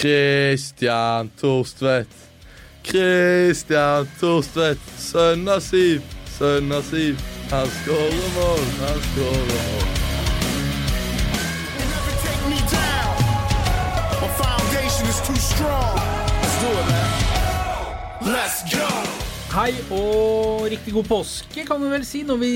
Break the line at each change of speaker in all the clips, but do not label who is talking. Kristian Torstvedt. Kristian Torstvedt. Sønn av Siv. Sønn av Siv. Han skårer mål, han skårer mål.
Hei og riktig god påske, kan du vel si, når vi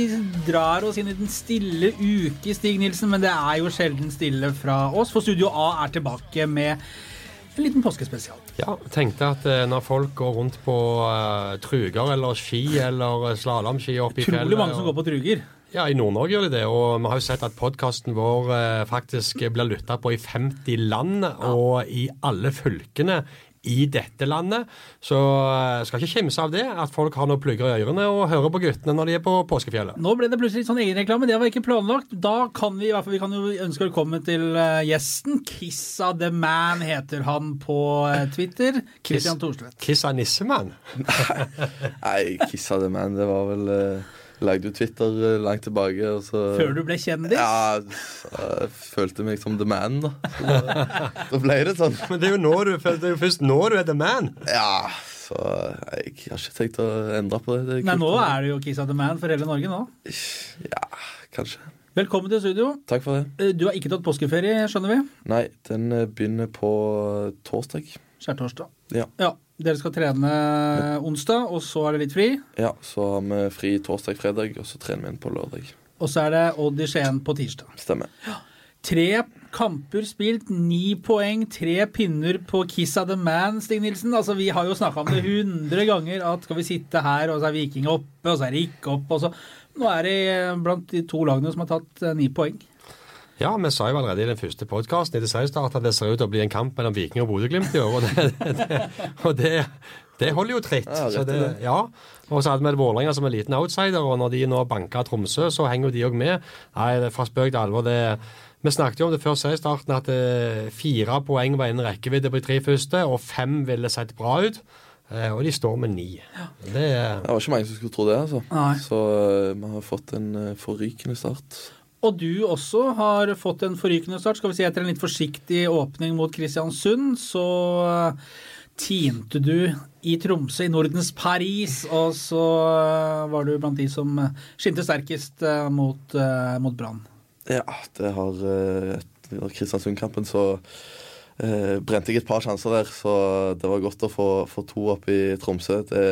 drar oss inn i den stille uke, Stig Nilsen. Men det er jo sjelden stille fra oss, for Studio A er tilbake med en liten påskespesial.
Ja, tenkte at eh, når folk går rundt på eh, truger eller ski eller eh, slalåmski oppe i fjellet
Utrolig mange som går på truger.
og- Ja, i Nord-Norge gjør de det. Og vi har jo sett at podkasten vår eh, faktisk blir lytta på i 50 land og i alle fylkene i dette landet. Så eh, skal ikke kimse av det at folk har noen plugger i ørene og hører på guttene når de er på påskefjellet.
Nå ble det plutselig litt sånn egenreklame, det var ikke planlagt. Da kan vi i hvert fall vi kan jo ønske velkommen til eh, gjesten. Kissa the Man heter han på eh, Twitter. Christian Thorstvedt.
Kissa nissemann.
Nei, Kiss of the Man, det var vel eh, Lagde jo Twitter eh, langt tilbake, og så
Før du ble kjendis?
Ja, s- jeg følte meg som the man, da. Så Da, da ble det sånn.
Men det er jo nå du, det er jo først nå du er the man.
Ja, så jeg har ikke tenkt å endre på det. det er
Nei,
kult.
nå er det jo Kissa the Man for hele Norge nå.
Ja, kanskje.
Velkommen til studio.
Takk for det.
Eh, Du har ikke tatt påskeferie, skjønner vi?
Nei, den eh, begynner på torsdag.
Skjærtorsdag.
Ja.
Ja, dere skal trene onsdag, og så er det litt fri.
Ja, så har vi fri torsdag, fredag, og så trener vi inn på lørdag.
Og så er det Odd i Skien på tirsdag.
Stemmer.
Tre kamper spilt, ni poeng, tre pinner på Kiss of the Man, Stig Nilsen. Altså, Vi har jo snakka om det 100 ganger, at skal vi sitte her, og så er Viking oppe, og så er det ikke opp, og så Nå er det blant de to lagene som har tatt eh, ni poeng.
Ja, vi sa jo allerede i den første podkasten i det seriestart at det ser ut til å bli en kamp mellom Viking og Bodø-Glimt i år. Og det, det, og det, det holder jo tritt.
Ja, rett
så
i
det,
det.
ja. Og så hadde vi Vålerenga som en liten outsider, og når de nå banker Tromsø, så henger jo de òg med. Nei, det er fra spøk til alvor. det vi snakket jo om det før seriestarten, at eh, fire poeng var innen rekkevidde på de tre første, og fem ville sett bra ut. Eh, og de står med ni. Det er
Det var ikke mange som skulle tro det, altså.
Nei.
Så eh, vi har fått en eh, forrykende start.
Og du også har fått en forrykende start. Skal vi si etter en litt forsiktig åpning mot Kristiansund, så eh, tinte du i Tromsø, i Nordens Paris, og så eh, var du blant de som eh, skinte sterkest eh, mot, eh, mot Brann.
Ja, det har eh, Etter Kristiansund-kampen så eh, brente jeg et par sjanser der, så det var godt å få, få to opp i Tromsø. Det,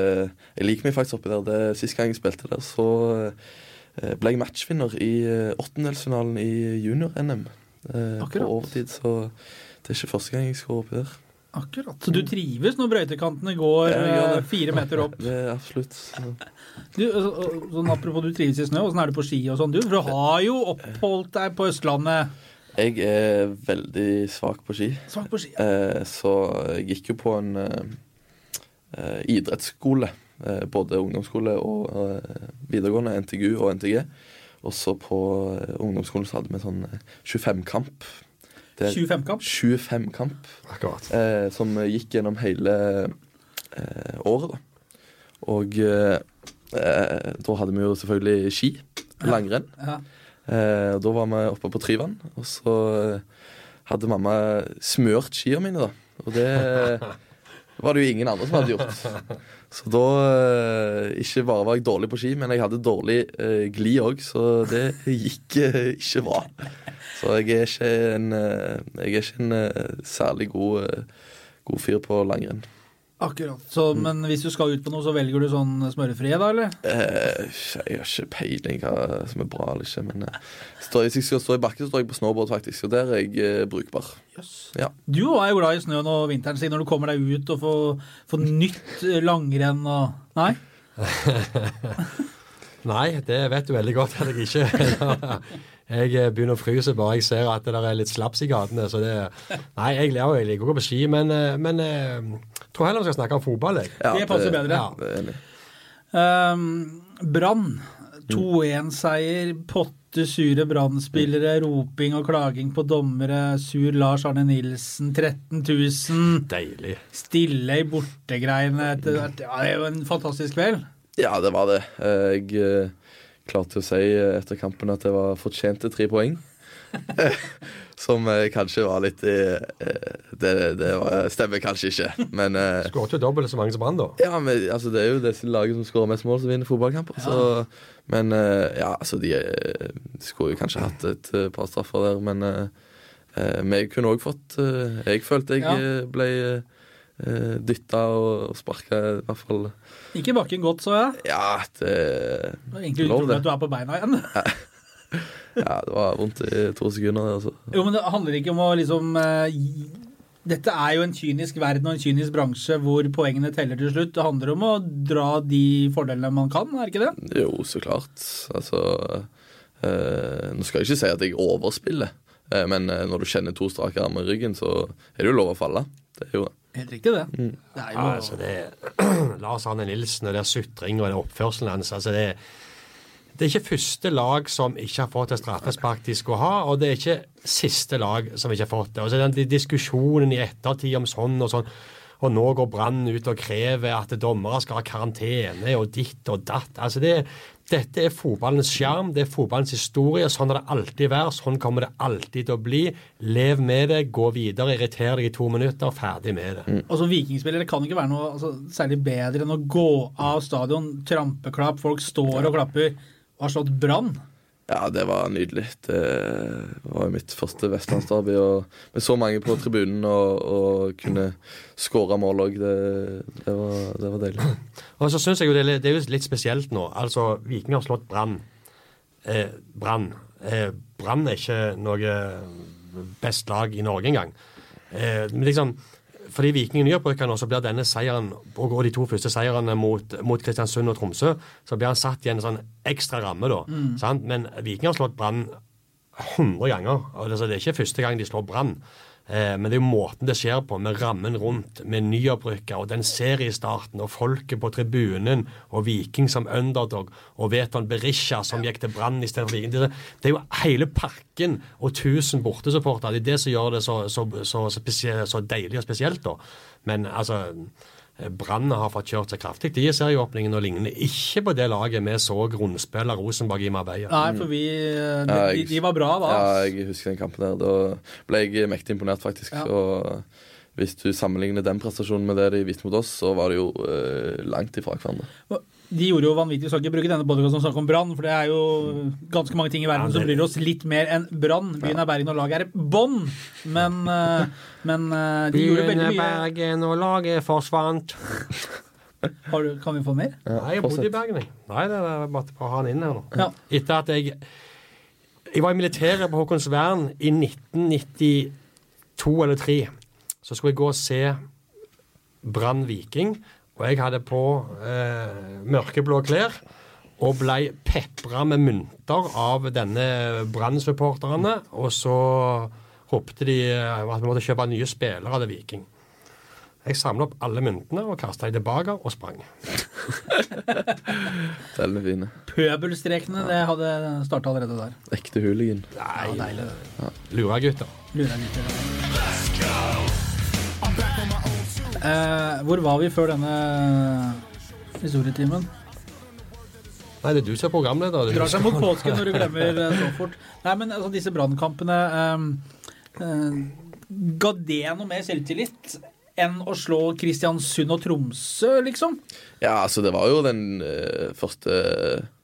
jeg liker meg faktisk oppi der. Det, sist gang jeg spilte der, så eh, ble jeg matchvinner i eh, åttendelsfinalen i junior-NM. Eh, på
Akkurat.
overtid, så det er ikke første gang jeg skårer oppi der.
Akkurat. Så du trives når brøytekantene går
Ja, jeg gjør
eh,
det.
fire meter opp?
Det er absolutt så-
Du, og- og- sånn Apropos du trives i snø, åssen er det på ski og sånn? Du For du har jo oppholdt deg på Østlandet.
Jeg er veldig svak på ski,
Svak på ski.
eh, så jeg gikk jo på en eh, eh, idrettsskole. Eh, både ungdomsskole og eh, videregående, NTGU og NTG. Og så på eh, ungdomsskolen så hadde vi sånn eh, 25-kamp. Det er
25-kamp.
25-kamp
akkurat.
eh, som gikk gjennom hele eh, året, da. Og eh, eh, da hadde vi jo selvfølgelig ski. Langrenn.
Ja.
Eh, og da var vi oppe på Tryvann, og så eh, hadde mamma smørt skiene mine, da. Og det var det jo ingen andre som hadde gjort. Så da eh, Ikke bare var jeg dårlig på ski, men jeg hadde dårlig eh, gli òg, så det gikk eh, ikke bra. Så jeg er ikke en, eh, jeg er ikke en eh, særlig god, eh, god fyr på langrenn.
Akkurat. Så, men hvis du skal ut på noe, så velger du sånn smørefrie, da, eller?
Eh, jeg har ikke peiling hva som er bra eller ikke, men eh, står, hvis jeg skal stå i bakken, så står jeg på snowboard, faktisk. Og der er jeg eh, brukbar. Ja.
Du òg er jo glad i snøen og vinteren, siden når du kommer deg ut og får, får nytt langrenn og Nei?
Nei, det vet du veldig godt at jeg ikke Jeg eh, begynner å fryse bare jeg ser at det der er litt slaps i gatene. Så det Nei, jeg ler jo, jeg liker å gå på ski, men, eh, men eh, jeg tror heller vi skal snakke om fotball, jeg.
Ja,
Det passer bedre.
ja.
det er enig.
Ehm, Brann. 2-1-seier. Potte sure Brann-spillere. Roping og klaging på dommere. Sur Lars Arne Nilsen. 13 000.
Deilig.
Stille i bortegreiene etter hvert. Ja, det er jo en fantastisk kveld.
Ja, det var det. Eh, Jeg eh, klarte å si eh, etter kampen at det var fortjente tre poeng. som eh, kanskje var litt eh, eh, Det, det var, stemmer kanskje ikke, men eh,
Skåret jo dobbelt så mange som han, da.
ja, men altså, Det er jo disse lagene som skårer mest mål, som vinner fotballkamper. Så, men eh, ja, altså, de eh, skulle jo kanskje hatt et eh, par straffer der, men eh, eh, vi kunne òg fått eh, Jeg følte jeg
Ja.
eh, ble uh, dytta og, og sparka, i hvert fall.
Ikke bakken godt, så jeg.
Ja, det
Det var egentlig
Lov
utrolig
det.
at du er på beina igjen.
Ja, det var vondt i to sekunder. det, Altså.
Jo, men det handler ikke om å liksom eh, gi- Dette er jo en kynisk verden og en kynisk bransje hvor poengene teller til slutt. Det handler om å dra de fordelene man kan, er det ikke det?
Jo, så klart. Altså eh, Nå skal jeg ikke si at jeg overspiller, eh, men eh, når du kjenner to strake armer i ryggen, så er det jo lov å falle. Det er jo det.
Helt riktig, det.
Mm.
Det er jo
Ja, altså det Lars Arne Nilsen og der sutring og den oppførselen hans altså det, det er ikke første lag som ikke har fått et straffespark de skulle ha, og det er ikke siste lag som ikke har fått det. Og så den di- diskusjonen i ettertid om sånn og sånn, og nå går Brann ut og krever at dommere skal ha karantene og ditt og datt. altså det dette er fotballens sjarm, det er fotballens historie. Sånn har det alltid vært, sånn kommer det alltid til å bli. Lev med det, gå videre, irriter deg i to minutter, ferdig med det.
Og som Altså, vikingspillere kan det ikke være noe altså, særlig bedre enn å gå av stadion, trampeklapp, folk står og klapper og har slått brann.
Ja, det var nydelig. Det var jo mitt første vestlandsderby. Og med så mange på tribunen og, og kunne skåre mål òg, det, det, var- det var deilig.
Og så synes jeg jo det, er litt- det er jo litt spesielt nå. Altså, Viking har slått Brann. Eh, Brann eh, Brann er ikke noe eh, best lag i Norge engang. Eh, men liksom, fordi Viking er nyopprykkende, og så blir denne seieren og og de to første seirene mot, mot Kristiansund og Tromsø, så blir han satt i en sånn ekstra ramme, da. Sant? Men Viking har slått Brann 100 ganger. og det- så Det er ikke første gang de slår Brann. Eh, Men det er jo måten det skjer på, med rammen rundt, med nyopprykka og den seriestarten og folket på tribunen og Viking som underdog og Veton Berisha som gikk til Brann istedenfor Viking. Det det er jo hele pakken og 1000 bortesupportere. Det er det som gjør det så, så, så, spesie- så deilig og spesielt, da. Men altså Brann har fått kjørt seg kraftig de i serieåpningen og lignende. Ikke på det laget vi så rundspill av Rosenborg i Marbella.
Nei, for vi De,
Ja,
de,
jeg-
de var bra da.
Ja,
ass.
jeg husker den kampen der. Da ble jeg mektig imponert, faktisk.
Ja.
Og hvis du sammenligner den prestasjonen med det de viste mot oss, så var det jo eh, langt ifra hverandre.
De gjorde jo vanvittig Vi skal ikke bruke denne podkasten som snakk om brann, for det er jo ganske mange ting i verden
Ja, det-
som bryr oss litt mer enn brann. Byen er Bergen, og laget er bånn. Men, eh, men eh, de gjorde veldig mye.
Bergen, og laget forsvant.
Har du, kan vi få mer?
Ja,
Nei, jeg bodde i
fortsett.
Bergen, jeg. Nei, det er bare å ha han inn her nå.
Ja.
Etter at jeg Jeg var i militæret på Håkonsvern i 1992 eller 3. Så skulle jeg gå og se Brann Viking, og jeg hadde på eh, mørkeblå klær. Og blei pepra med mynter av denne Brann-supporterne. Og så håpte de eh, at vi måtte kjøpe nye spillere av det Viking. Jeg samla opp alle myntene og kasta dem tilbake og sprang.
Delene fine.
Pøbelstrekene, det hadde starta allerede der.
Ekte hooligan.
Nei, Lura gutter.
Lurer jeg litt. Eh, hvor var vi før denne historietimen?
Nei, det er du som er programleder.
Drar seg mot påsken når du glemmer eh, så fort. Nei, men altså, disse brannkampene eh, eh, Ga det noe mer selvtillit enn å slå Kristiansund og Tromsø, liksom?
Ja, altså det var jo den eh, første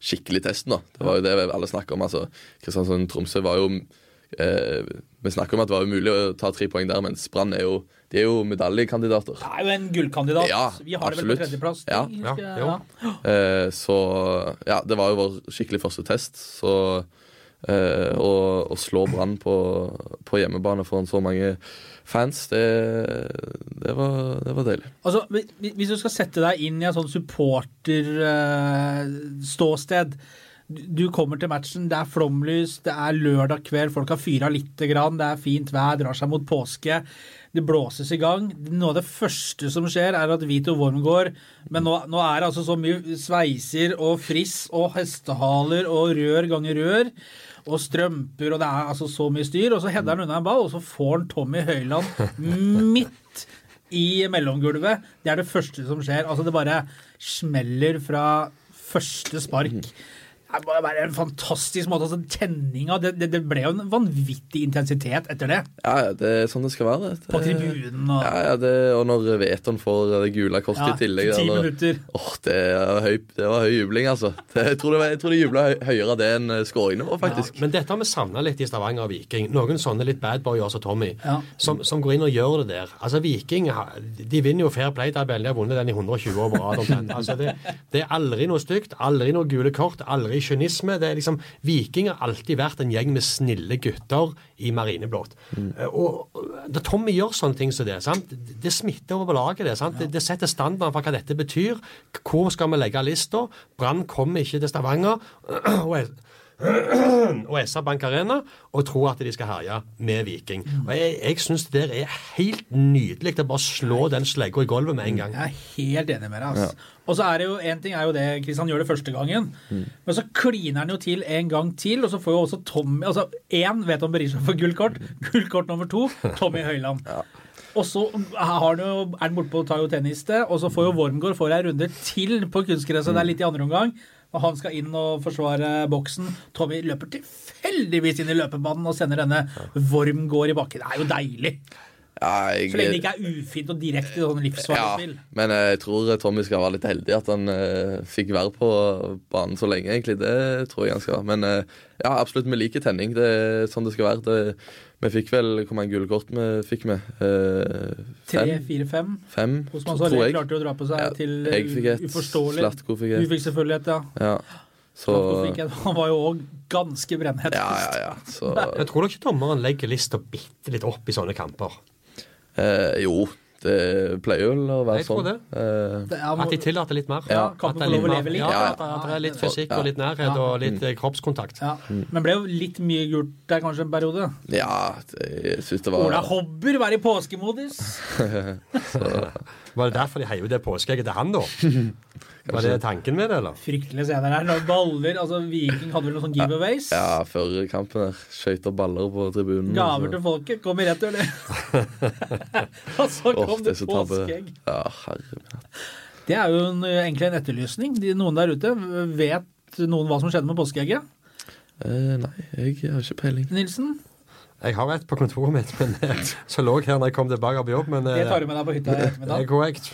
skikkelige testen, da. Det var jo det alle snakker om. altså. Kristiansund-Tromsø var jo eh, Vi snakker om at det var umulig å ta tre poeng der, mens Brann er jo de er jo medaljekandidater.
Det er jo en gullkandidat.
Ja,
vi har det vel
absolutt.
på tredjeplass.
Ja,
de,
ja,
husker jeg,
jo.
Eh, så Ja, det var jo vår skikkelig første test, så eh, Å å slå Brann på, på hjemmebane foran så mange fans, det, det, var, det var deilig.
Altså, hvi- Hvis du skal sette deg inn i en sånn supporterståsted eh, Du kommer til matchen, det er flomlys, det er lørdag kveld, folk har fyra lite grann, det er fint vær, drar seg mot påske. Det blåses i gang. Noe av det første som skjer, er at Vito Wormgård Men nå, nå er det altså så mye sveiser og friss og hestehaler og rør ganger rør og strømper, og det er altså så mye styr. Og så header han unna en ball, og så får han Tommy Høiland midt i mellomgulvet. Det er det første som skjer. Altså, det bare smeller fra første spark. Det må jo være en fantastisk måte. Altså, tenninga det, det, det ble jo en vanvittig intensitet etter det.
Ja, ja, det er sånn det skal være. Det,
På tribunen og
Ja, ja, det, og når Veton får det gule kortet i tillegg
ti
eller-
minutter.
Åh, det, er høy, det var høy jubling, altså. Det, jeg tror det var- jeg tror de jubla høy, høyere av det enn eh, skåringene våre, faktisk.
Ja, men dette har vi savna litt i Stavanger og Viking. Noen sånne litt bad boy, altså Tommy,
Ja.
som, som går inn og gjør det der. Altså Viking har- de vinner jo Fair Play-tabellen. De har vunnet den i 120 år på rad. omtrent. Altså, det, det er aldri noe stygt, aldri noe gule kort, aldri kynisme. Det er liksom, Viking har alltid vært en gjeng med snille gutter i marineblått. Eh, Og, og da Tommy gjør sånne ting som det, sant? det smitter over på laget. Det, sant? Det, det setter standarden for hva dette betyr. Hvor skal vi legge lista? Brann kommer ikke til Stavanger. og jeg, og SR Bank Arena og tro at de skal herje med Viking. Og Jeg, jeg syns det der er helt nydelig å bare slå den slegga i gulvet med en gang.
Jeg er helt enig med deg. ass. Og så er det jo en ting er jo det, Kristian gjør det første gangen, men så kliner han jo til en gang til, og så får jo også Tommy altså Én vet om Berisha får gullkort, gullkort nummer to, Tommy Høiland. Og så har han jo, er han bortpå og tar jo tennis det, og så får jo Wormgård får ei runde til på kunstgresset, det er litt i andre omgang. Og han skal inn og forsvare boksen. Tommy løper tilfeldigvis inn i løpebanen og sender denne Wormgård i bakken. Det er jo deilig!
Ja, jeg,
Så lenge det ikke er ufint og direkte sånn livsfarlig
ja,
spill.
men eh, jeg tror eh, Tommy skal være litt heldig at han eh, fikk være på banen så lenge, egentlig. Det tror jeg han skal. Men eh, ja, absolutt, vi liker tenning. Det er sånn det skal være. Det, vi fikk vel Hvor mange gule kort vi fikk vi? Eh,
Tre,
fem?
fire, fem.
Fem,
Osman
tror
Saleh
jeg.
klarte jo å dra på seg
Ja,
til uh,
jeg fikk et.
uforståelig.
Slatko fikk
Du
et.
fikk selvfølgelig et, ja.
Ja. Så
Slatko fikk et. Han var jo òg ganske brennhett.
Ja, ja, ja. Så
Jeg tror da ikke dommeren legger lista bitte litt opp i sånne kamper.
eh, Jo, det pleier vel å være
Jeg tror
sånn. Eh,
Det er-
At de tillater litt mer.
Ja,
At
kampen
det er
får lov å
litt mer-
leve litt.
Ja,
Ja,
at det- at det er litt fysikk
Ja.
og litt nærhet og litt eh, kroppskontakt.
ja.
Mm.
Men ble jo litt mye gult der kanskje en periode.
ja, det, jeg syns det var
Ola Hobber var i påskemodus.
Var det derfor de heiv det påskeegget til han, da? Var det tanken med det, eller?
Fryktelig scener her. Når baller altså Viking hadde vel noen sånne giveaways.
Ja, før kampen der. Skøyter baller på tribunen.
Gaver til folket. Kom i retur, det. og så
Åh,
kom
det
det
er så tabbe.
påskeegg.
Ja, herre min hatt.
Det er jo en, egentlig en etterlysning. De, noen der ute vet noen hva som skjedde med påskeegget,
Eh, nei, jeg har ikke peiling.
Nilsen?
Jeg har et på kontoret mitt men eh, som lå her når jeg kom tilbake av jobb, men eh,
Det tar du med deg på hytta i
det
ettermiddag.
er korrekt.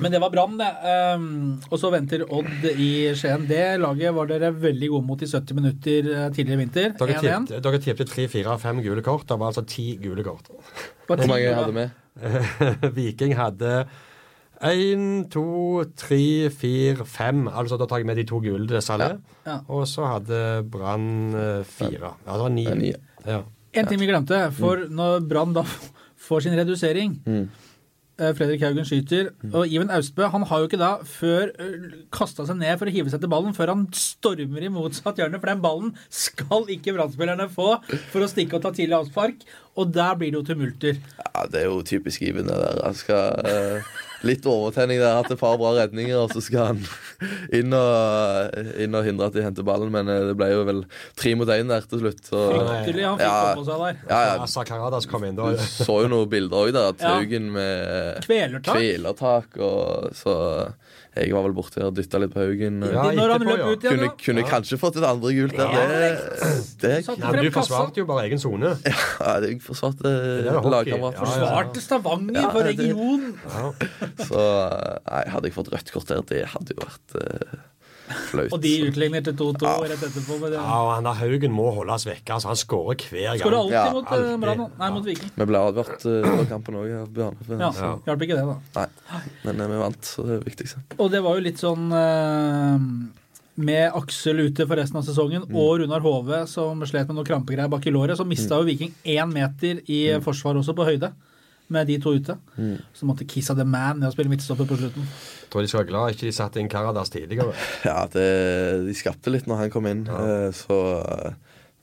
Men det var Brann, det. Ehm, og så venter Odd i Skien. Det laget var dere veldig gode mot i 70 minutter eh, tidligere i vinter.
Dere
1-1.
tippte- Dere tippte tre, fire, fem gule kort. Det var altså ti gule kort.
På
Hvor mange
tide,
jeg
da.
hadde med?
Viking hadde én, to, tre, fire, fem. Altså da tar jeg med de to gule til Salé.
Ja.
Og så hadde Brann eh, fire. Ja, det var ni.
Ja, ni.
Ja.
En ting vi glemte, for
Mm.
når Brann da får sin redusering eh, Fredrik Haugen skyter,
Mm.
og Iven Austbø han har jo ikke da før kasta seg ned for å hive seg til ballen, før han stormer i motsatt hjørne. For den ballen skal ikke Brann-spillerne få for å stikke og ta tidlig avspark. Og der blir det jo tumulter.
Ja, Det er jo typisk Iben, det der. Han skal, eh, litt overtenning der. Hatt et par bra redninger, og så skal han inn og, inn og hindre at de henter ballen. Men eh, det ble jo vel tre mot én der til slutt. Så,
Fryktelig. Han fikk
Ja.
opp på seg der.
ja, ja,
Asa Karadas kom inn da.
Du så jo noen bilder òg der. at
Ja.
Haugen med
Kvelertak.
kvelertak. Og så jeg var vel borti og dytta litt på Haugen.
Ja,
De- når
gikk
han
det på,
løp
ja.
ut igjen,
kunne
da.
kunne kanskje fått et andre gult der.
Ja,
Det, det,
Satt
Ja, men
frem
du
kassa.
forsvarte jo bare egen sone.
ja, det jeg forsvarte
er hockey.
lagkameraten.
Ja, ja.
Forsvarte Stavanger
Ja,
for
det-
region.
Så eh, nei, hadde jeg fått rødt kort der, det hadde jo vært eh, flaut.
Og de utligner til 2-2 rett etterpå. med det.
Ja, og han der Haugen må holdes vekke. Altså, han skårer hver gang.
Skårer alltid
Ja,
mot eh,
alltid.
Brann. Nei, mot Viking.
Vi ble advart eh, før kampen òg av Bjørne.
Ja,
så-
Hjalp ikke det, da.
Nei, men eh, vi vant, så det er det viktigste.
Og det var jo litt sånn eh, Med Aksel ute for resten av sesongen og Runar Hove som slet med noen krampegreier bak i låret, så mista jo Viking én meter i forsvar også, på høyde. Med de to ute. Så måtte Kissa the Man ned og spille midtstopper på slutten.
Jeg tror de skal være glad ikke de satte inn Karadas tidligere.
Ja, det, de skapte litt når han kom inn, eh, så eh,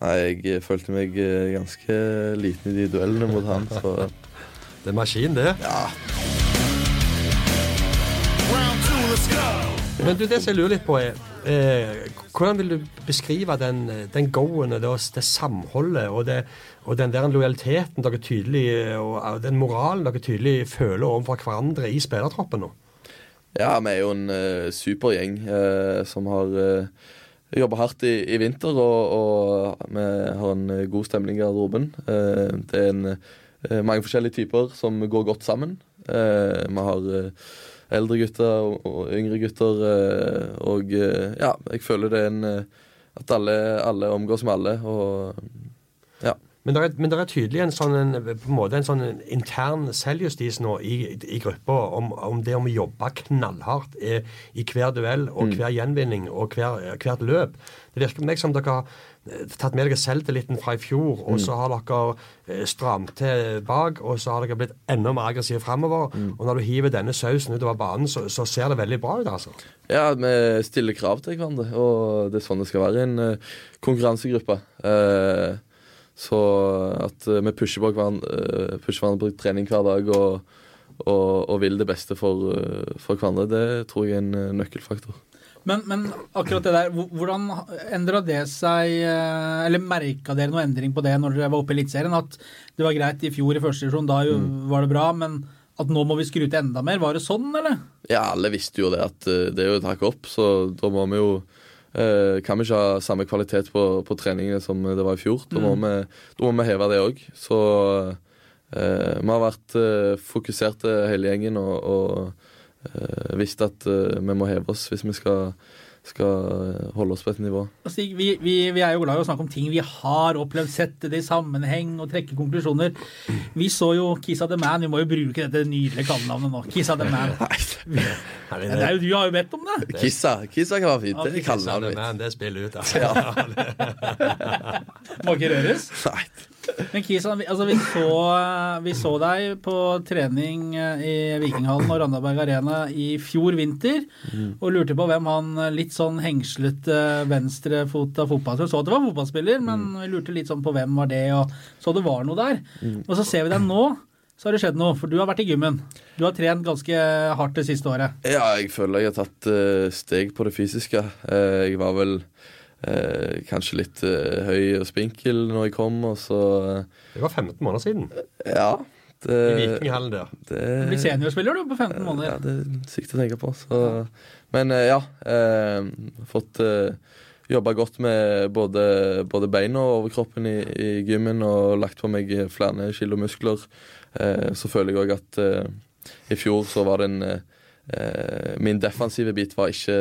Nei, jeg følte meg eh, ganske liten i de duellene mot han, så
Det er maskin, det.
Round two, let's go.
Men du, det som jeg lurer litt på er eh, Hvordan vil du beskrive den, eh, den go-en og det, det samholdet og, det, og den der lojaliteten dere eh, tydelig og den moralen dere tydelig føler overfor hverandre i spillertroppen nå?
Ja, vi er jo en eh, super gjeng eh, som har uh, jobba hardt i, i vinter, og, og vi har en eh, god stemning i garderoben. Eh, det er en, eh, mange forskjellige typer som går godt sammen. Eh, vi har eh, eldre gutter og, og yngre gutter, eh, og eh, ja, jeg føler det er en eh, At alle, alle omgås med alle, og ja.
Men det er, men der er tydelig en sånn, en, på en måte en sånn intern selvjustis nå i, i gruppa om, om det om å jobbe knallhardt i, i hver duell
Mm.
og hver gjenvinning og hver, hvert løp. Det virker på meg som dere har eh, tatt med dere selvtilliten fra i fjor,
Mm.
og så har dere eh, stramt til bak, og så har dere blitt enda mer aggressive framover.
Mm.
Og når du hiver denne sausen utover banen, så, så ser det veldig bra ut, altså.
Ja, vi stiller krav til hverandre, og det er sånn det skal være i en eh, konkurransegruppe. Eh, så at eh, vi pusher, på hverandre, eh, pusher hverandre på trening hver dag og, og, og vil det beste for, eh, for hverandre, det tror jeg er en eh, nøkkelfaktor.
Men, men akkurat det der, hvor- hvordan endra det seg eh, Eller merka dere noe endring på det når dere var oppe i Eliteserien? At det var greit i fjor i første divisjon, da jo, var det bra, men at nå må vi skru til enda mer? Var det sånn, eller?
Ja, alle visste jo det at eh, det er jo et hakk opp, så da må vi jo eh, Kan vi ikke ha samme kvalitet på, på treningene som det var i fjor? Da må, vi, da må vi heve det òg. Så eh, vi har vært eh, fokuserte hele gjengen og, og eh, visst at eh, vi må heve oss hvis vi skal, skal holde oss på et nivå.
Og Stig, Altså, vi, vi, vi er jo glad i å snakke om ting vi har opplevd, sette det i sammenheng og trekke konklusjoner. Vi så jo Kissa the Man, vi må jo bruke dette nydelige kallenavnet nå. Kissa the Man.
Herlig,
Ja, Det er jo, du har jo bedt om det.
Kissa Kissa kan være fint. Det
Ja,
er kallenavnet mitt.
Men det spiller ut, altså.
Ja.
Må ikke røres.
Nei.
Men Kristian, vi, altså vi, så, vi så deg på trening eh, i Vikinghallen og Randaberg Arena i fjor vinter,
Mm.
og lurte på hvem han litt sånn hengslete venstrefota fotballspiller Så at det var fotballspiller, men
Mm.
vi lurte litt sånn på hvem var det, og så det var noe der.
Mm.
Og så ser vi deg nå, så har det skjedd noe, for du har vært i gymmen. Du har trent ganske hardt det siste året.
Ja, jeg føler jeg har tatt eh, steg på det fysiske. Eh, jeg var vel eh, kanskje litt eh, høy og spinkel når jeg kom, og så
Det var 15 måneder siden.
eh, Ja. Det,
Eh,
I Vikinghallen der.
Du blir
det,
seniorspiller du på 15
Eh, ja,
måneder.
det er sykt å tenke på. Så. Men eh, ja. Eh, fått eh, jobba godt med både, både beina og overkroppen i, i gymmen og lagt på meg flere kilo muskler. Eh, så føler jeg òg at eh, i fjor så var den eh, eh, Min defensive bit var ikke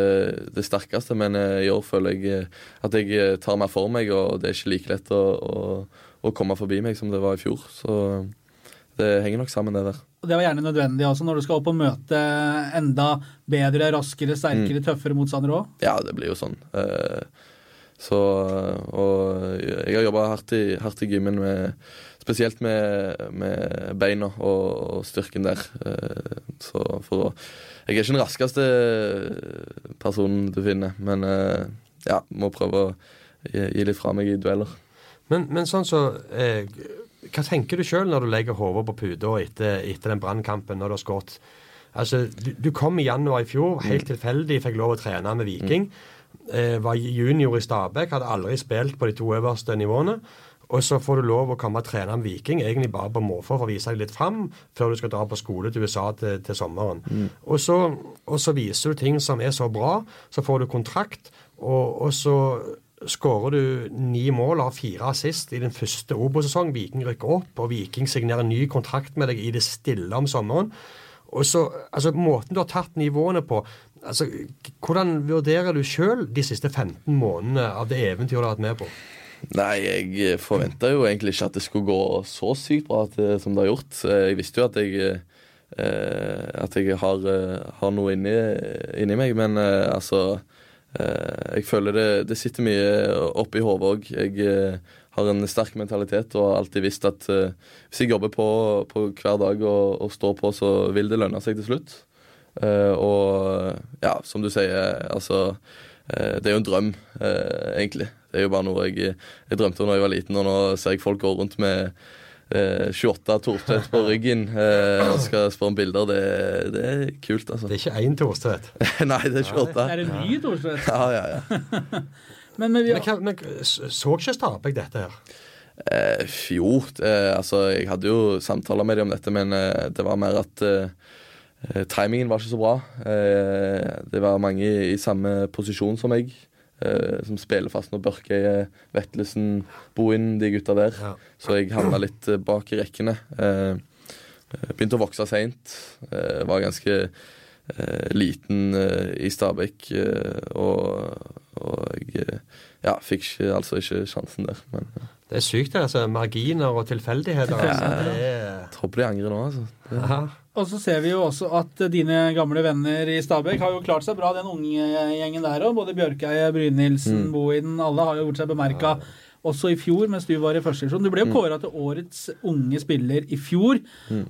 det sterkeste, men eh, i år føler jeg eh, at jeg eh, tar mer for meg, og det er ikke like lett å, å, å komme forbi meg som det var i fjor. Så eh, det henger nok sammen, det der.
Og det var gjerne nødvendig også når du skal opp og møte enda bedre, raskere,
Mm.
sterkere, tøffere motstandere òg.
Ja, det blir jo sånn. Eh, Så Og jeg har jobba hardt, i- hardt i gymmen, med, spesielt med, med beina og, og styrken der. Eh, Så for å Jeg er ikke den raskeste personen du finner, men eh, ja, må prøve å gi gi litt fra meg i dueller.
Men, men sånn så eh, Hva tenker du sjøl når du legger hodet på puta etter, etter den brannkampen, når du har skåret? Altså, du, du kom i januar i fjor, helt tilfeldig fikk lov å trene med Viking. Eh, var junior i Stabæk, hadde aldri spilt på de to øverste nivåene. Og så får du lov å komme og trene med Viking, egentlig bare på måfå for å vise deg litt fram, før du skal dra på skole til USA til, til sommeren. Og, så, og så viser du ting som er så bra, så får du kontrakt, og, og så skårer du ni mål og har fire assist i den første Obo-sesongen. Viking rykker opp, og Viking signerer ny kontrakt med deg i det stille om sommeren. Og så, altså Måten du har tatt nivåene på altså, Hvordan vurderer du sjøl de siste 15 månedene av det eventyret du har vært med på?
Nei, jeg forventa jo egentlig ikke at det skulle gå så sykt bra at, det- som det har gjort. Eh, Jeg visste jo at jeg, eh, at jeg har, eh, har noe inni, inni meg, men eh, altså eh, Jeg føler det, det sitter mye oppi hodet òg. Jeg eh, har en sterk mentalitet og har alltid visst at eh, hvis jeg jobber på, på hver dag og, og står på, så vil det lønne seg til slutt. Eh, og eh, ja, som du sier, altså eh, Det er jo en drøm, eh, egentlig. Det er jo bare noe jeg, jeg drømte om da jeg var liten, og nå ser jeg folk gå rundt med eh, 28 Thorstvedt på ryggen eh, og skal spørre om bilder. Det, det er kult, altså.
Det er ikke én Thorstvedt.
Nei, det er
Det
28.
er en ny Thorstvedt.
Ja, ja, ja.
Men, men vi,
Men, hva- men så ikke Stabæk dette her?
Eh, fjor eh, Altså, jeg hadde jo samtaler med dem om dette, men eh, det var mer at eh, Eh, Timingen var ikke så bra. Eh, Det var mange i- i samme posisjon som meg, eh, som spiller fast når Børke, Vetlesen, Bohin, de gutta der.
Ja.
Så jeg havna litt eh, bak i rekkene. Eh, Begynte å vokse seint. Var ganske eh, liten eh, i Stabæk. eh, Og, og jeg eh, ja, fikk ikke, altså ikke sjansen der. Men eh.
Det er sykt, det. altså. Marginer og tilfeldigheter. Altså. Det er...
jeg håper de angrer nå, altså.
Ja.
Og så ser vi jo også at dine gamle venner i Stabæk har jo klart seg bra, den unge gjengen der òg. Både Bjørkeie,
Mm.
Brynildsen, Bohinen. Alle har jo gjort seg bemerka. Også i fjor, mens du var i første divisjon. Du ble
Mm.
jo kåra til årets unge spiller i fjor.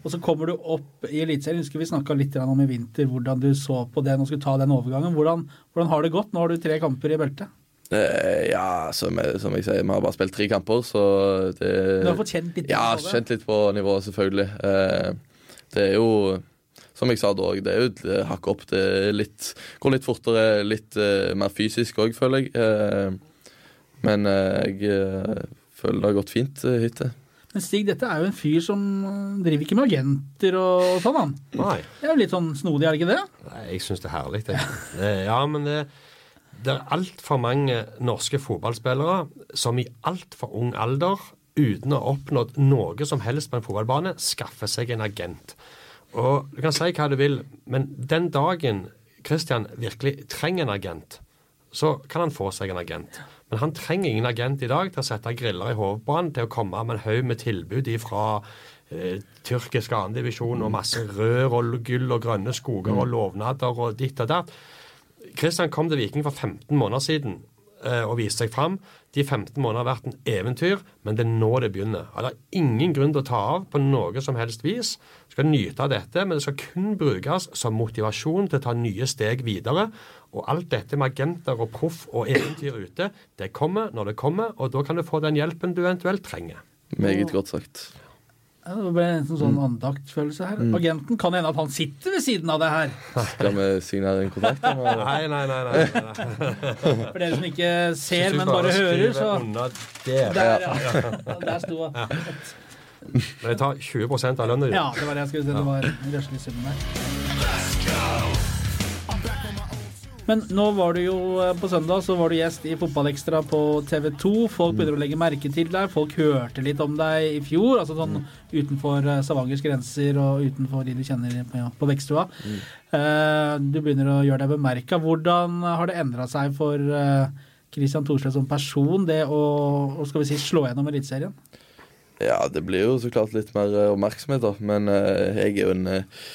Og så kommer du opp i Eliteserien. Husker vi snakka litt grann om i vinter hvordan du så på den og skulle ta den overgangen. Hvordan, hvordan har det gått? Nå har du tre kamper i beltet.
Eh, ja, som jeg, som jeg sier, vi har bare spilt tre kamper, så det
Du har fått kjent litt
Ja,
på det.
kjent litt på nivået, selvfølgelig. Eh, det er jo som jeg sa da òg, det er jo et eh, hakk opp. Det er litt, går litt fortere, litt eh, mer fysisk òg, føler jeg. Eh, men eh, jeg eh, føler det har gått fint eh, hittil.
Men Stig, dette er jo en fyr som driver ikke med agenter og sånn, han.
Nei.
Det er jo litt sånn snodig, er det ikke det?
Nei, jeg syns det er herlig. Det. Det, ja, men det, det er altfor mange norske fotballspillere som i altfor ung alder, uten å ha oppnådd noe som helst på en fotballbane, skaffer seg en agent. Og Du kan si hva du vil, men den dagen Christian virkelig trenger en agent, så kan han få seg en agent. Men han trenger ingen agent i dag til å sette griller i hodet på han, til å komme med en haug med tilbud ifra eh, tyrkisk andredivisjon og masse rør og gull og grønne skoger og lovnader og ditt og datt. Kristian kom til Viking for 15 måneder siden eh, og viste seg fram. De 15 månedene har vært en eventyr, men det er nå det begynner. Og Det er ingen grunn til å ta av på noe som helst vis. Du skal nyte av dette, men det skal kun brukes som motivasjon til å ta nye steg videre. Og alt dette med agenter og proff og eventyr ute, det kommer når det kommer, og da kan du få den hjelpen du eventuelt trenger.
Meget godt sagt.
Ja, Det ble en sånn- sånn andaktfølelse her. Agenten kan hende at han sitter ved siden av det her.
Skal vi signere en kontrakt? eller?
Nei, nei, nei. nei, nei, nei.
For dere som ikke ser, men bare hører, så
Der.
Der, ja. Der sto det.
Men jeg tar 20 av lønna di.
Ja, det var det jeg skulle si. Det var en røslig sum der. Men nå var du jo eh, på søndag så var du gjest i Fotballekstra på TV 2. Folk begynner å legge merke til deg. Folk hørte litt om deg i fjor. Altså sånn utenfor eh, Stavangers grenser og utenfor de du kjenner på, ja, på Vekstua. Eh, Du begynner å gjøre deg bemerka. Hvordan har det endra seg for eh, Christian Thorsle som person, det å å, skal vi si, slå gjennom Eliteserien?
Ja, det blir jo så klart litt mer eh, oppmerksomhet, da. Men eh, jeg er jo en eh,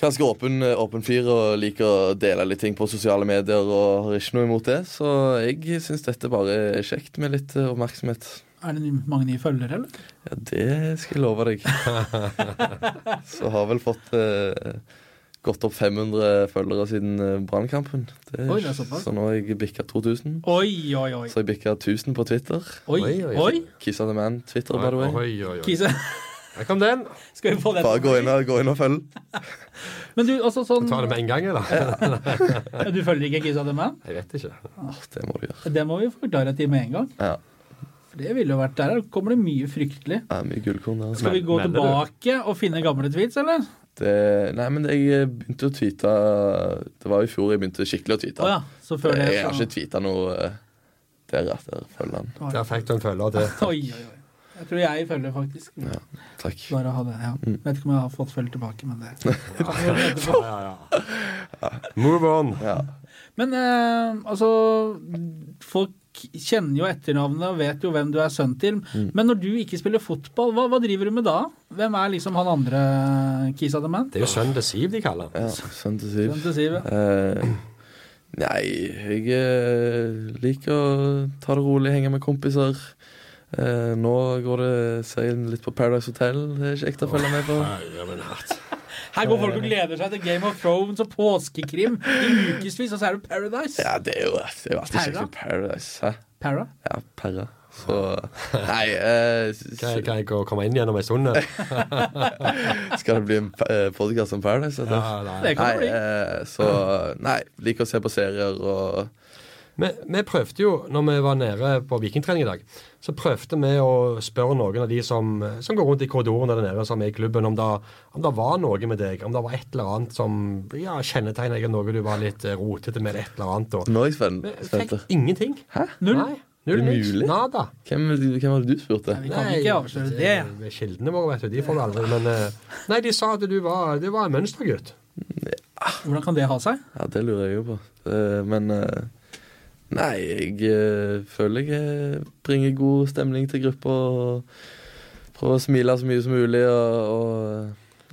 ganske åpen, eh, åpen fyr og liker å dele litt ting på sosiale medier og har ikke noe imot det. Så jeg syns dette bare er kjekt med litt eh, oppmerksomhet.
Er det ny- mange nye følgere, eller?
Ja, det skal jeg love deg. så har vel fått eh, gått opp 500 følgere siden eh, Brannkampen. Det er-
Oi, det er såpass.
Så nå har jeg bikka 2000.
Oi, oi, oi.
Så jeg bikka 1000 på Twitter.
Oi,
Oi, oi,
oi.
oi.
Kiss of the Man Twitter, by the
Oi,
way.
oi, oi.
Kise,
Her kom den.
skal vi få den?
Bare gå inn og, gå inn og følg.
Men du, altså sånn eh,
Ta det med en gang, eller?
Du følger ikke Kisa the Man?
Jeg vet ikke.
Åh, Det må du gjøre.
Det må vi forklare til med en gang.
Ja.
For det ville jo vært der. her Kommer det mye fryktelig.
Det er mye gullkorn der. altså.
Skal vi gå
Melder du?
tilbake og finne gamle tweets, eller?
Det, eh, nei, men jeg begynte å tweete Det var i fjor jeg begynte skikkelig å tweete.
Å ja. Så sånn. før det
jeg har
så-
ikke tweeta noe eh, der at jeg følger han.
Der fikk du en følger til.
Oi, oi, oi. Jeg tror jeg følger, faktisk.
Takk.
Bare ha det, ja. Vet ikke om jeg har fått følge tilbake, men det
Ja, ja, ja. Move on.
Ja.
Men eh, altså Folk kjenner jo etternavnet og vet jo hvem du er sønn til. Men når du ikke spiller fotball, hva, hva driver du med da? Hvem er liksom han andre Kisa the Man?
Det er jo sønnen til Siv de kaller den.
ja Sønn til Siv.
Sønn til Siv, ja.
Eh, nei, jeg eh, liker å ta det rolig, henge med kompiser. Eh, nå går det seilen litt på Paradise Hotel. Det er kjekt å følge med på.
Herre min hatt.
Her går folk og gleder seg til Game of Thrones og påskekrim i ukevis, og så er det Paradise.
Ja, det er jo, det er jo alltid kjekt
Perra?
med Paradise. Hæ?
Para.
Ja, Perra. Så Nei, eh,
Kan jeg, kan jeg gå- komme inn igjen om en stund? eller?
skal det bli en podkast om Paradise? Eller?
Ja, nei.
Det kan det
eh, Nei,
bli.
eh, så Nei, liker å se på serier og
Vi, vi prøvde jo, når vi var nede på vikingtrening i dag, så prøvde vi å spørre noen av de som, som går rundt i korridoren der nede, som er i klubben, om det, om det var noe med deg. Om det var et eller annet som ja, kjennetegna deg, noe du var litt eh, rotete med, eller et eller annet. Og.
Nå er jeg spen-
Vi
spent.
fikk ingenting.
Hæ?
Null?
Nei, null niks.
Umulig?
Nada.
Hvem, hvem var det du spurte?
Vi kan ikke avsløre det.
det- Kildene våre, vet du, de får det aldri. Men eh, nei, de sa at du var, du var en mønstergutt.
Hvordan kan det ha seg?
Ja, det lurer jeg jo på. Eh, Men eh, Nei, jeg eh, føler jeg eh, bringer god stemning til gruppa. Og prøver å smile så mye som mulig. Og,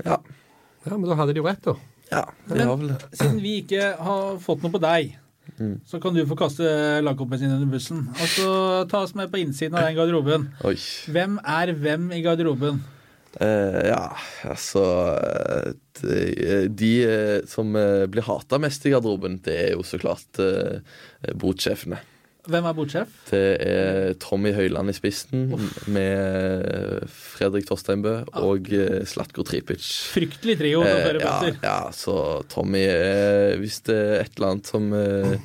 og ja.
Ja, Men da hadde de jo rett, da.
ja de har vel det.
Siden vi ikke har fått noe på deg,
Mm.
så kan du få kaste lagkompisen din under bussen. Og så ta oss med på innsiden av den garderoben.
Oi.
Hvem er hvem i garderoben?
Eh, ja, altså eh, De, de eh, som eh, blir hata mest i garderoben, det er jo så klart eh, botsjefene.
Hvem er bordsjef?
Det er Tommy Høiland i spissen med eh, Fredrik Torsteinbø og eh, Slatko Tripic.
Fryktelig trio fra
Eh,
flere plasser.
Ja, ja, så Tommy, eh, hvis det er et eller annet som eh,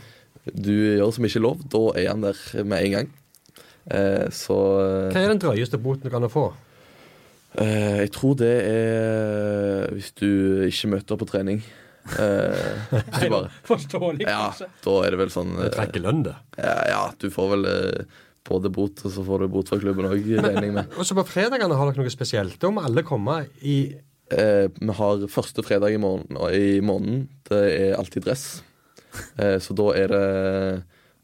du gjør som ikke er lov, da er han der med en gang. Eh, så
Hva er den drøyeste boten du kan få?
eh, jeg tror det er hvis du ikke møter på trening. Eh, hvis du bare,
Forståelig,
ja,
kanskje.
da er det vel sånn
Det
eh,
trekker lønn, det.
ja, ja, du får vel eh, både bot, og så får du bot fra klubben òg, regner jeg med.
Og så på fredagene har dere noe spesielt. Da må alle komme i
Eh, vi har første fredag i, morgen, og i måneden. Det er alltid dress. Eh, så da er det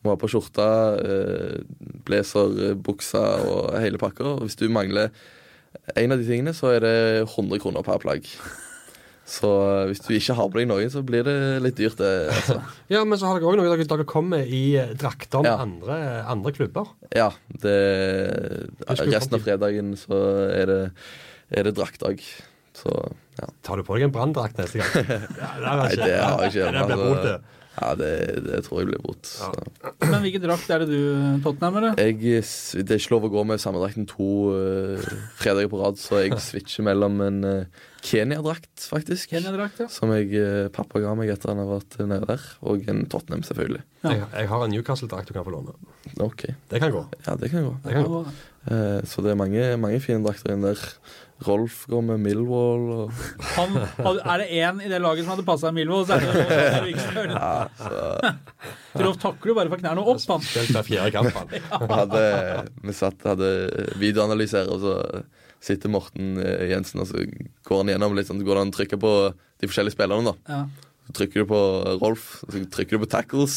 Må ha på skjorte, eh, blazer, eh, buksa og hele pakka. Og hvis du mangler en av de tingene, så er det 100 kroner per plagg. Så eh, hvis du ikke har på deg noen, så blir det litt dyrt. Det, altså.
Ja, men så har dere òg noe dere, dere kommer i eh, drakter
Ja.
med andre, andre klubber.
Ja. Det,
skulle
resten av fredagen så er det, er det draktdag. Så ja.
Tar du på deg en branndrakt neste gang? Ja, det har
Nei, det har jeg ikke.
Det blir
altså.
bot, det.
Ja, det, det tror jeg blir bot. Så.
Men hvilken drakt er det du, Tottenham, eller?
Jeg, s- det er ikke lov å gå med samme drakten to eh, fredager på rad, så jeg switcher mellom en eh, Kenya-drakt, faktisk,
Kenya-drakt, ja.
som jeg, eh, pappa ga meg etter han har vært nede der, og en Tottenham, selvfølgelig.
Ja.
Jeg, jeg har en Newcastle-drakt du kan få låne.
OK.
Det kan gå.
Ja, det kan gå.
Det kan gå.
Eh, så det er mange, mange fine drakter inn der. Rolf går med Millwall og
Han, er det én i det laget som hadde passa Milvo, så er det Rolf Eriksen.
Ja, så
Rolf takler jo bare fra knærne og opp, han.
Spilt hver fjerde kamp. han.
vi hadde, Vi satt hadde videoanalyserer, og så sitter Morten eh, Jensen, og så går han gjennom litt sånn, så går han og trykker på de forskjellige spillerne, da.
Ja.
Så trykker du på Rolf, så trykker du på tackles,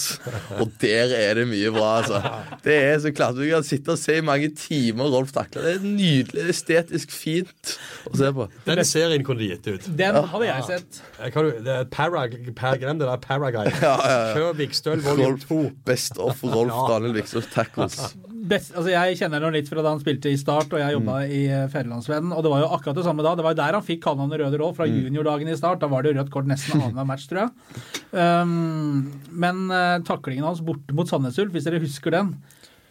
og der er det mye bra. altså. Det er så klart, Du kan sitte og se i mange timer Rolf takle. Det er nydelig, estetisk fint å se på.
Den serien kunne de gitt ut.
Den hadde jeg sett.
Jeg kan, Eh, det er para, para, glem det der Paraguy. Kjør Vikstøl volum
Rolf,
2.
best of Rolf Daniel Vikstøs tackles.
Best, altså jeg kjenner ham litt fra da han spilte i Start, og jeg jobba i eh, Fædrelandsvennen. Og det var jo akkurat det samme da. Det var jo der han fikk kallenavnet Røde Rolf, fra juniordagene i Start. Da var det jo rødt kort nesten annenhver match, tror jeg. Um, men eh, taklingen hans borte mot Sandnes Ulf, hvis dere husker den,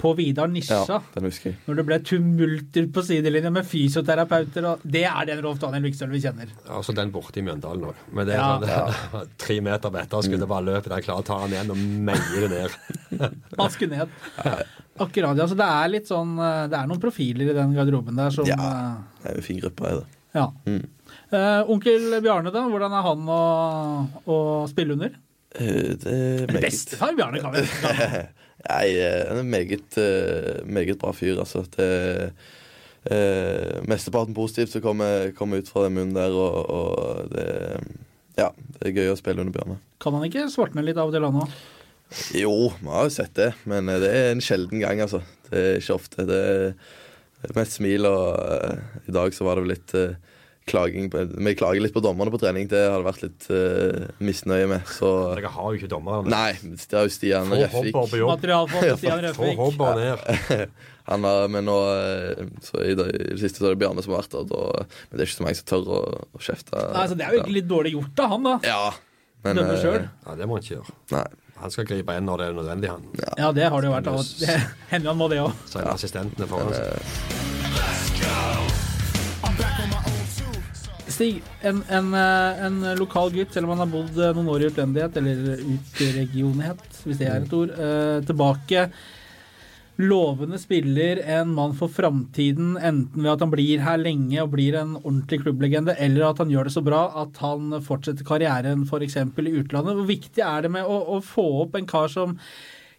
på Vidar Nisja,
Ja, den husker jeg.
når det ble tumulter på sidelinjen med fysioterapeuter og Det er den Rolf Daniel Vikstøl vi kjenner.
Altså den borte i Mjøndalen òg. Men det er
Ja.
sånn, tre meter på etterskuddet, bare løper der, klarer å ta han igjen og meie det ned.
Aske ned. Akkurat, ja. Så det er litt sånn eh, Det er noen profiler i den garderoben der som
Ja.
eh,
Det er jo en fin gruppe. Er det.
ja. Eh, onkel Bjarne, da? Hvordan er han å, å spille under?
Eh, Det er meget,
Bestefar Bjarne kan vi
nei, eh, han er en meget, eh, meget bra fyr, altså. Det er eh, mesteparten positivt som kommer, kommer ut fra den munnen der, og, og det, ja, det er gøy å spille under Bjørne.
Kan han ikke svartne litt av og til, han òg?
Jo, vi har jo sett det, men eh, det er en sjelden gang, altså. Det er ikke ofte. Det er med et smil, og eh, i dag så var det vel litt eh, klaging på, Vi klager litt på dommerne på trening, det har det vært litt eh, misnøye med, så
Dere har jo ikke dommeren.
Nei, det er jo Stian
Få
Refvik.
Hobber på jobb.
Materialfond Stian
Få altså.
Røfvik.
Hobber ned.
Han har, men nå eh, så i det, i det siste så er det Bjarne som har vært der, da, men det er ikke så mange som tør å, å kjefte.
Nei, så altså, det er jo egentlig litt dårlig gjort av han, da.
Ja, men
Dømme
eh,
sjøl.
Ja, det må han ikke gjøre.
Nei.
Han skal gripe inn når det er nødvendig, han.
Ja, det har det jo vært. av og til. Det hender han må det òg.
Så er det assistentene foran seg.
I'm back on my own too. So-
Stig, en, en, eh, en lokal gutt, selv om han har bodd eh, noen år i utlendighet, eller utregionighet, hvis det er et ord, eh, tilbake. Lovende spiller, en mann for framtiden, enten ved at han blir her lenge og blir en ordentlig klubblegende, eller at han gjør det så bra at han fortsetter karrieren f.eks. i utlandet. Hvor viktig er det med å, å få opp en kar som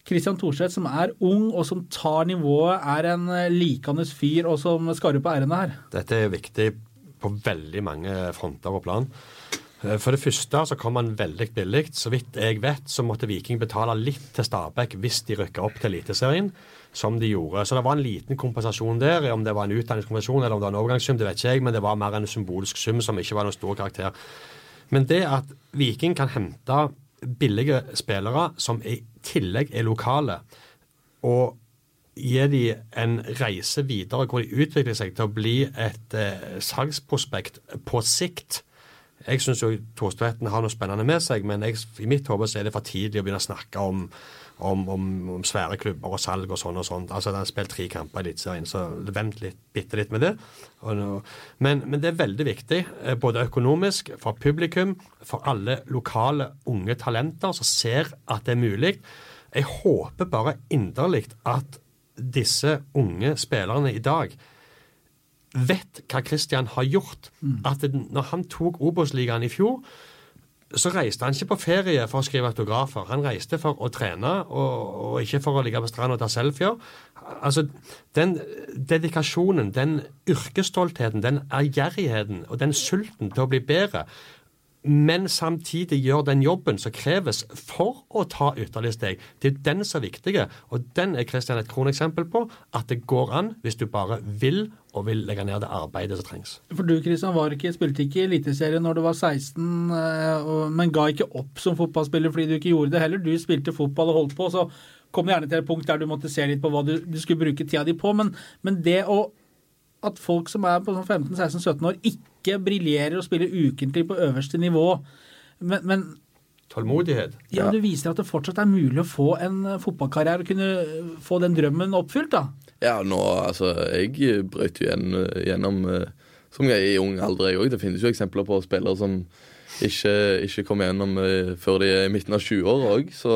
Christian Thorseth, som er ung og som tar nivået, er en eh, likandes fyr og som skarrer på ærene her?
Dette er viktig på veldig mange fronter og plan. Eh, For det første så kom han veldig billig. Så vidt jeg vet, så måtte Viking betale litt til Stabæk hvis de rykka opp til Eliteserien, som de gjorde. Så det var en liten kompensasjon der. Om det var en utdanningskompensasjon eller om det var en overgangssum, det vet ikke jeg, men det var mer en symbolsk sum som ikke var noen stor karakter. Men det at Viking kan hente billige spillere som i tillegg er lokale, og gi de en reise videre hvor de utvikler seg til å bli et eh, salgsprospekt på sikt. Jeg syns jo Thorstvedten har noe spennende med seg, men jeg, i mitt hode så er det for tidlig å begynne å snakke om, om, om, om svære klubber og salg og sånn og sånt. Altså, Han har spilt tre kamper i Eliteserien, så vent litt, bitte litt med det. Og nå- Men, men det er veldig viktig, eh, både økonomisk, for publikum, for alle lokale unge talenter som ser at det er mulig. Jeg håper bare inderlig at disse unge spillerne i dag vet hva Christian har gjort. At det, når han tok Obos-ligaen i fjor, så reiste han ikke på ferie for å skrive autografer. Han reiste for å trene, og, og ikke for å ligge på stranda og ta selfier. Altså, Den dedikasjonen, den yrkesstoltheten, den ærgjerrigheten og den sulten til å bli bedre, men samtidig gjør den jobben som kreves for å ta ytterligere steg. Det er den som er viktige, og den er Kristian et kroneksempel på at det går an hvis du bare vil, og vil legge ned det arbeidet som trengs.
For du Kristian, var ikke, spilte ikke i Eliteserien når du var 16, eh, og- men ga ikke opp som fotballspiller fordi du ikke gjorde det heller. Du spilte fotball og holdt på, så kom det gjerne til et punkt der du måtte se litt på hva du, du skulle bruke tida di på. Men, men det å at folk som er på sånn 15-16-17 år, ikke briljerer og spiller ukentlig på øverste nivå men, men
Tålmodighet.
ja, du viser at det fortsatt er mulig å få en eh, fotballkarriere og kunne eh, få den drømmen oppfylt, da.
Ja, nå, altså, jeg brøt jo igjen, eh, gjennom eh, som jeg er i ung alder, jeg òg. Det finnes jo eksempler på spillere som ikke, ikke kommer gjennom eh, før de er i midten av 20-åra òg, så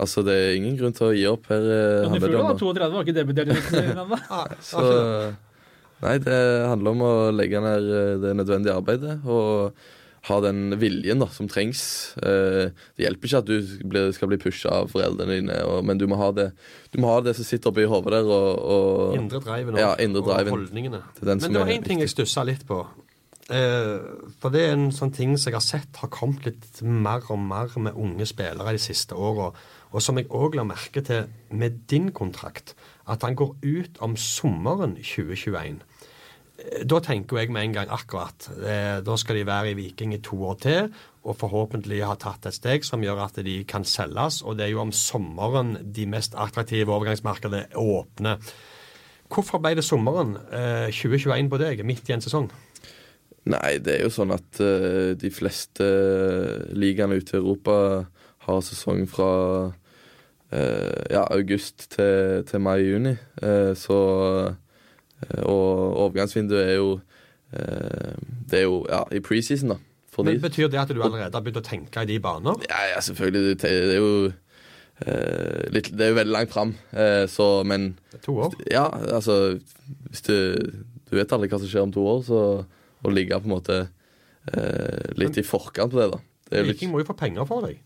altså, det er ingen grunn til å gi opp her. eh,
Men du
handler det
føler
om
da,
å-
32 var ikke debutert i Eliteserien ennå.
Så Nei, det handler om å legge ned eh, det nødvendige arbeidet og ha den viljen da, som trengs. Eh, Det hjelper ikke at du blir- skal bli pusha av foreldrene dine, og, men du må ha det Du må ha det som sitter oppi hodet der, og, og
Indre driven og,
Ja, indre driven.
og holdningene.
Det er den som
Men det var
er
én ting jeg stussa litt på. Eh, for det er en sånn ting som jeg har sett har kommet litt mer og mer med unge spillere de siste åra. Og som jeg òg la merke til med din kontrakt, at han går ut om sommeren 2021. Eh, Da tenker jo jeg med en gang akkurat. Eh, Da skal de være i Viking i to år til, og forhåpentlig ha tatt et steg som gjør at de kan selges. Og det er jo om sommeren de mest attraktive overgangsmarkedene åpner. Hvorfor ble det sommeren eh, 2021 på deg, midt i en sesong?
Nei, det er jo sånn at eh, de fleste eh, ligaene ute i Europa har sesong fra eh, ja, august til, til mai-juni. så eh, Og overgangsvinduet er jo eh, Det er jo ja, i preseason, da. For
Men
de.
Betyr det at du allerede har begynt å tenke i de baner?
Ja, ja, selvfølgelig. Det det er jo eh, litt, Det er jo veldig langt fram, eh, så Men
To år?
ja, altså Hvis du, du vet aldri hva som skjer om to år, så å ligge på en måte eh, litt i forkant på det, da. Det er jo litt,
Viking må jo få penger for deg.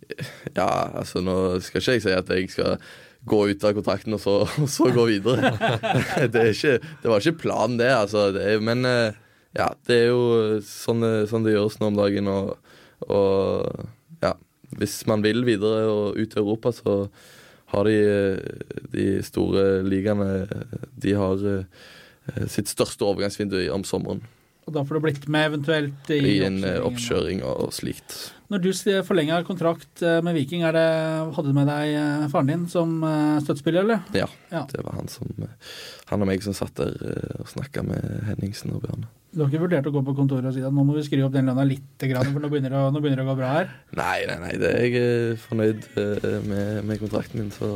ja, altså Nå skal ikke jeg si at jeg skal gå ut av kontrakten og så, og så gå videre. det, er ikke, det var ikke planen, det. altså det er, Men eh, ja, det er jo sånn, eh, sånn det gjøres nå om dagen. Og, og ja, hvis man vil videre og ut i Europa, så har de eh, de store ligaene eh, De har eh, sitt største overgangsvindu i- om sommeren
Og da får du blitt med eventuelt i,
i en eh, oppkjøring
oppkjøringen.
og slikt.
Når du forlenga kontrakt eh, med Viking, er det, hadde du med deg eh, faren din som eh, støttespiller, eller?
Ja.
Ja.
Det var han som eh, Han og meg som satt der eh, og snakka med Henningsen og Bjørne.
Du har ikke vurdert å gå på kontoret og si at nå må vi skru opp den lønna litt, grann, for nå begynner, det, å- nå begynner det å gå bra her?
Nei, nei, nei. Det er jeg eh, fornøyd eh, med, med kontrakten min, så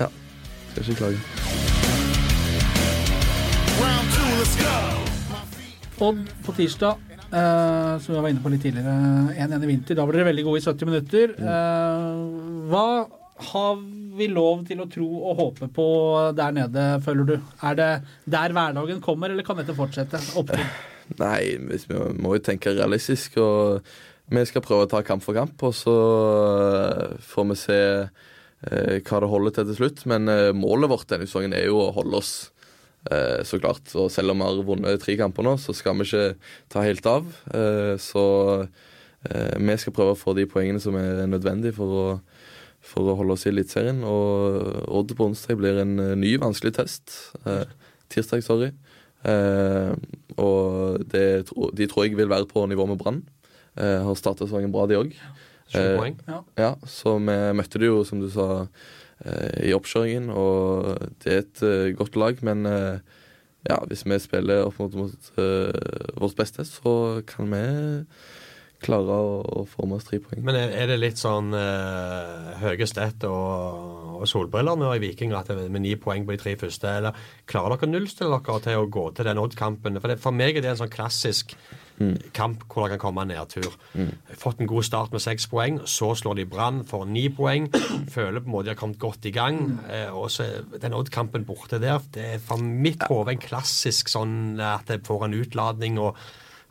ja. Skal ikke klage.
Round two, let's go.
Odd på tirsdag eh, som vi var inne på litt tidligere. 1-1 i vinter. Da var dere veldig gode i 70 minutter.
Mm.
Eh, hva har vi lov til å tro og håpe på der nede, føler du? Er det der hverdagen kommer, eller kan dette fortsette? Opptil.
Nei, vi vi må jo tenke realistisk. Og vi skal prøve å ta kamp for kamp, og så eh, får vi se eh, hva det holder til til slutt. Men eh, målet vårt denne sesongen er jo å holde oss, eh, så klart. Og selv om vi har vunnet tre kamper nå, så skal vi ikke ta helt av. Eh, så eh, vi skal prøve å få de poengene som er nødvendige for å for å holde oss i Eliteserien. Og Odd på onsdag blir en eh, ny vanskelig test. Eh, tirsdag, sorry. Eh, og det, tro- de tror jeg vil være på nivå med Brann. Eh, har starta sesongen bra, de òg.
Sju
Eh,
poeng.
Ja.
Ja, så vi møtte det jo, som du sa, eh, i oppkjøringen, og det er et eh, godt lag, men eh, ja, hvis vi spiller opp mot, mot eh, vårt beste, så kan vi klare å, å få med oss tre poeng.
Men er er det litt sånn eh, høye stett og, og solbriller nå i Viking at det er med ni poeng på de tre første? Eller klarer dere å nullstille dere til å gå til den Odd-kampen? For, det- for meg er det en sånn klassisk kamp hvor det kan komme en nedtur. Fått en god start med seks poeng, så slår de Brann for ni poeng. Føler på en måte de har kommet godt i gang. eh, og så er den Odd-kampen borte der, det er for mitt hode en klassisk sånn at det får en utladning og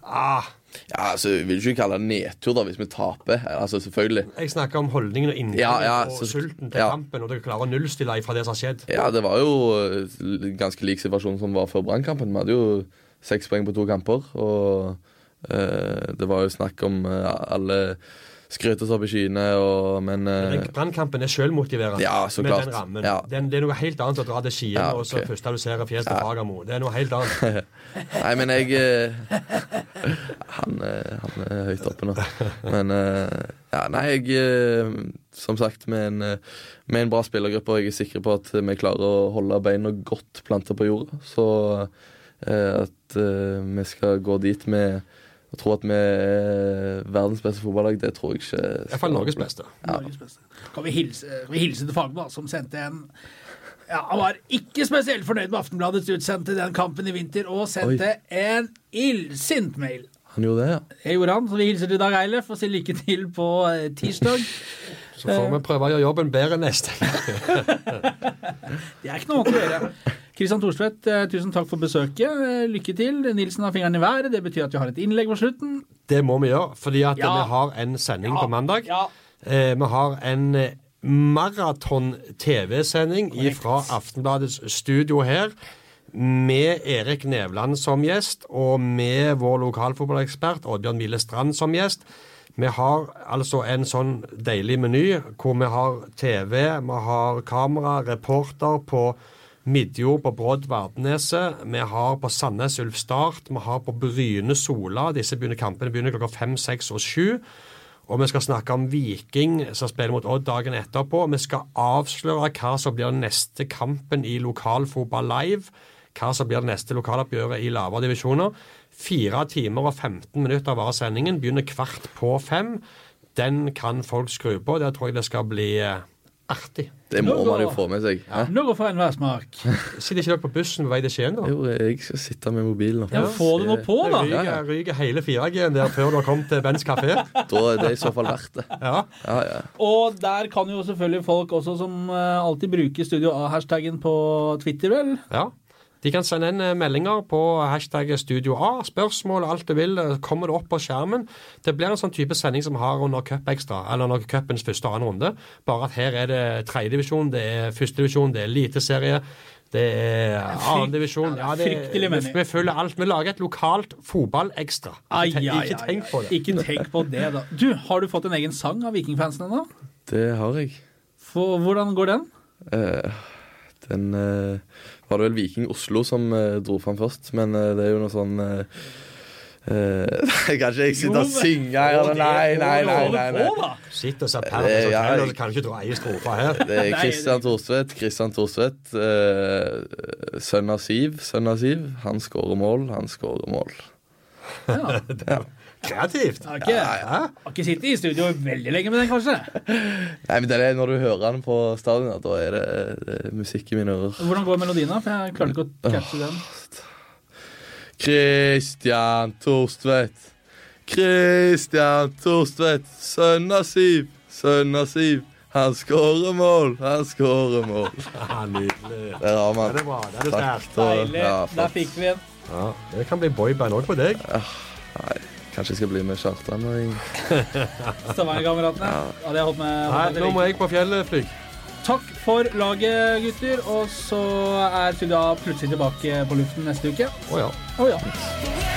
ah,
Ja, altså, jeg vil ikke kalle det nedtur da, hvis vi taper. Altså, selvfølgelig.
Jeg snakker om holdningen og inngangen
Ja, ja,
og
så-
sulten til
ja.
kampen, og dere klarer å nullstille ifra det som har skjedd.
Ja, det var jo eh, ganske lik situasjon som var før Brannkampen. Vi hadde jo seks poeng på to kamper, og eh, det var jo snakk om eh, alle skrøt oss opp i skyene, og men eh,
Den Brannkampen er selvmotiverende
Ja, så
med
klart.
den rammen.
Ja.
Det, er, det er noe helt annet å dra til Skien
Ja,
og så
ok.
første du ser, er fjes til Fagermo. Det er noe helt annet.
Nei, men jeg eh, han, eh, han er høyt oppe nå. Men eh, ja, nei, jeg eh, Som sagt, med en, eh, med en bra spillergruppe, og jeg er sikker på at vi klarer å holde beina godt planta på jorda. Så eh, at eh, vi skal gå dit med å tro at vi er verdens beste fotballag, det tror jeg ikke.
Iallfall Norges beste.
Norges beste. Kan vi hilse, kan vi hilse til Fagmo, som sendte en ja, Han var ikke spesielt fornøyd med Aftenbladets utsendte den kampen i vinter, og sendte en illsint mail.
Han gjorde det, ja.
Det gjorde han, så vi hilser til Dag Eilef og sier lykke til på eh, tirsdag.
Så
Eh.
får vi prøve å gjøre jobben bedre neste gang.
Det er ikke noe annet å gjøre. Kristian Thorstvedt, eh, tusen takk for besøket. Eh, Lykke til. Nilsen har fingeren i været. Det betyr at vi har et innlegg på slutten.
Det må vi gjøre, fordi at
Ja.
vi har en sending
Ja,
på mandag.
ja.
Eh, vi har en eh, maraton-TV-sending fra Aftenbladets studio her. Med Erik Nevland som gjest, og med vår lokalfotballekspert Oddbjørn Mille Strand som gjest. Vi har altså en sånn deilig meny hvor vi har TV, vi har kamera, reporter på Midjord på Brodd Vardneset. Vi har på Sandnes Ulf Start. Vi har på Bryne Sola. Disse begynner kampene begynner klokka fem, seks og sju. Og vi skal snakke om Viking som spiller mot Odd dagen etterpå. Vi skal avsløre hva som blir den neste kampen i lokalfotball live. Hva som blir det neste lokaloppgjøret i lavere divisjoner. Fire timer og 15 minutter varer sendingen. Begynner kvart på fem. Den kan folk skru på. Der tror jeg det skal bli eh, artig.
Det må man jo få med seg. Hæ?
Nå går for enhver smak.
Sitter ikke dere på bussen på vei til Skien, da?
Jo, jeg skal sitte med mobilen oppe.
Ja, få det nå på, da.
Ja, ja.
Ryker, ryker hele 4G-en der før du har kommet til Bens kafé.
Da er det i så fall verdt det.
Ja.
Ja, ja.
Og der kan jo selvfølgelig folk også som eh, alltid bruker Studio A-hashtaggen på Twitter, vel?
Ja. De kan sende inn eh, meldinger på hashtag Studio A. Spørsmål, alt du vil. eh, Kommer det opp på skjermen? Det blir en sånn type sending som vi har under Cup Extra, eller under cupens første og annen runde. Bare at her er det tredjedivisjon, det er førstedivisjon, det er eliteserie. Det er annendivisjon.
ja, det er fryktelig meny.
Vi følger alt. Vi lager et lokalt fotballekstra.
Ai,
Ikke,
ai,
tenk- ikke
ai.
tenk på det.
Ikke tenk på det, da. Du, har du fått en egen sang av Vikingfansen ennå?
Det har jeg.
For- Hvordan går den?
Eh, den eh, var det vel Viking Oslo som eh, dro fram først, men eh, det er jo noe sånn eh, eh, Nei, kanskje jeg sitter og synger her? eller? Nei, nei, nei. nei, nei.
Få, da!
Sitt og se
Det-
perlen, så
ja,
trenger
jeg-
du kan du ikke dra ei strofe her.
Det er Christian Thorstvedt. Christian Thorstvedt, eh, sønn av Siv. Sønn av Siv. Han skårer mål, han skårer mål.
Ja.
Kreativt.
Har ikke, har ikke sittet i studio veldig lenge med den, kanskje?
Nei, men det er Når du hører han på stadion, da er det, eh, det er musikk i mine ører.
Hvordan går melodien, da? For jeg klarte ikke å catche den.
Christian Thorstvedt. Kristian Thorstvedt, sønn av Siv, sønn av Siv. Han skårer mål, han skårer mål.
Ja, nydelig.
Der har
Ja, det
man.
er bra. Det er det
Takk.
sterkt.
og-
Deilig.
Ja,
Der
flott.
fikk vi en.
Ja, det kan bli boyband òg på deg.
Kanskje jeg skal bli med Kjartan. når jeg-
Stavanger-kameratene. Ja, det har holdt med.
Nei,
holdt med
nå må
like.
jeg på fjellet fly.
Takk for laget, gutter. Og så er Tudja plutselig tilbake på luften neste uke.
Å ja.
Å ja.
The way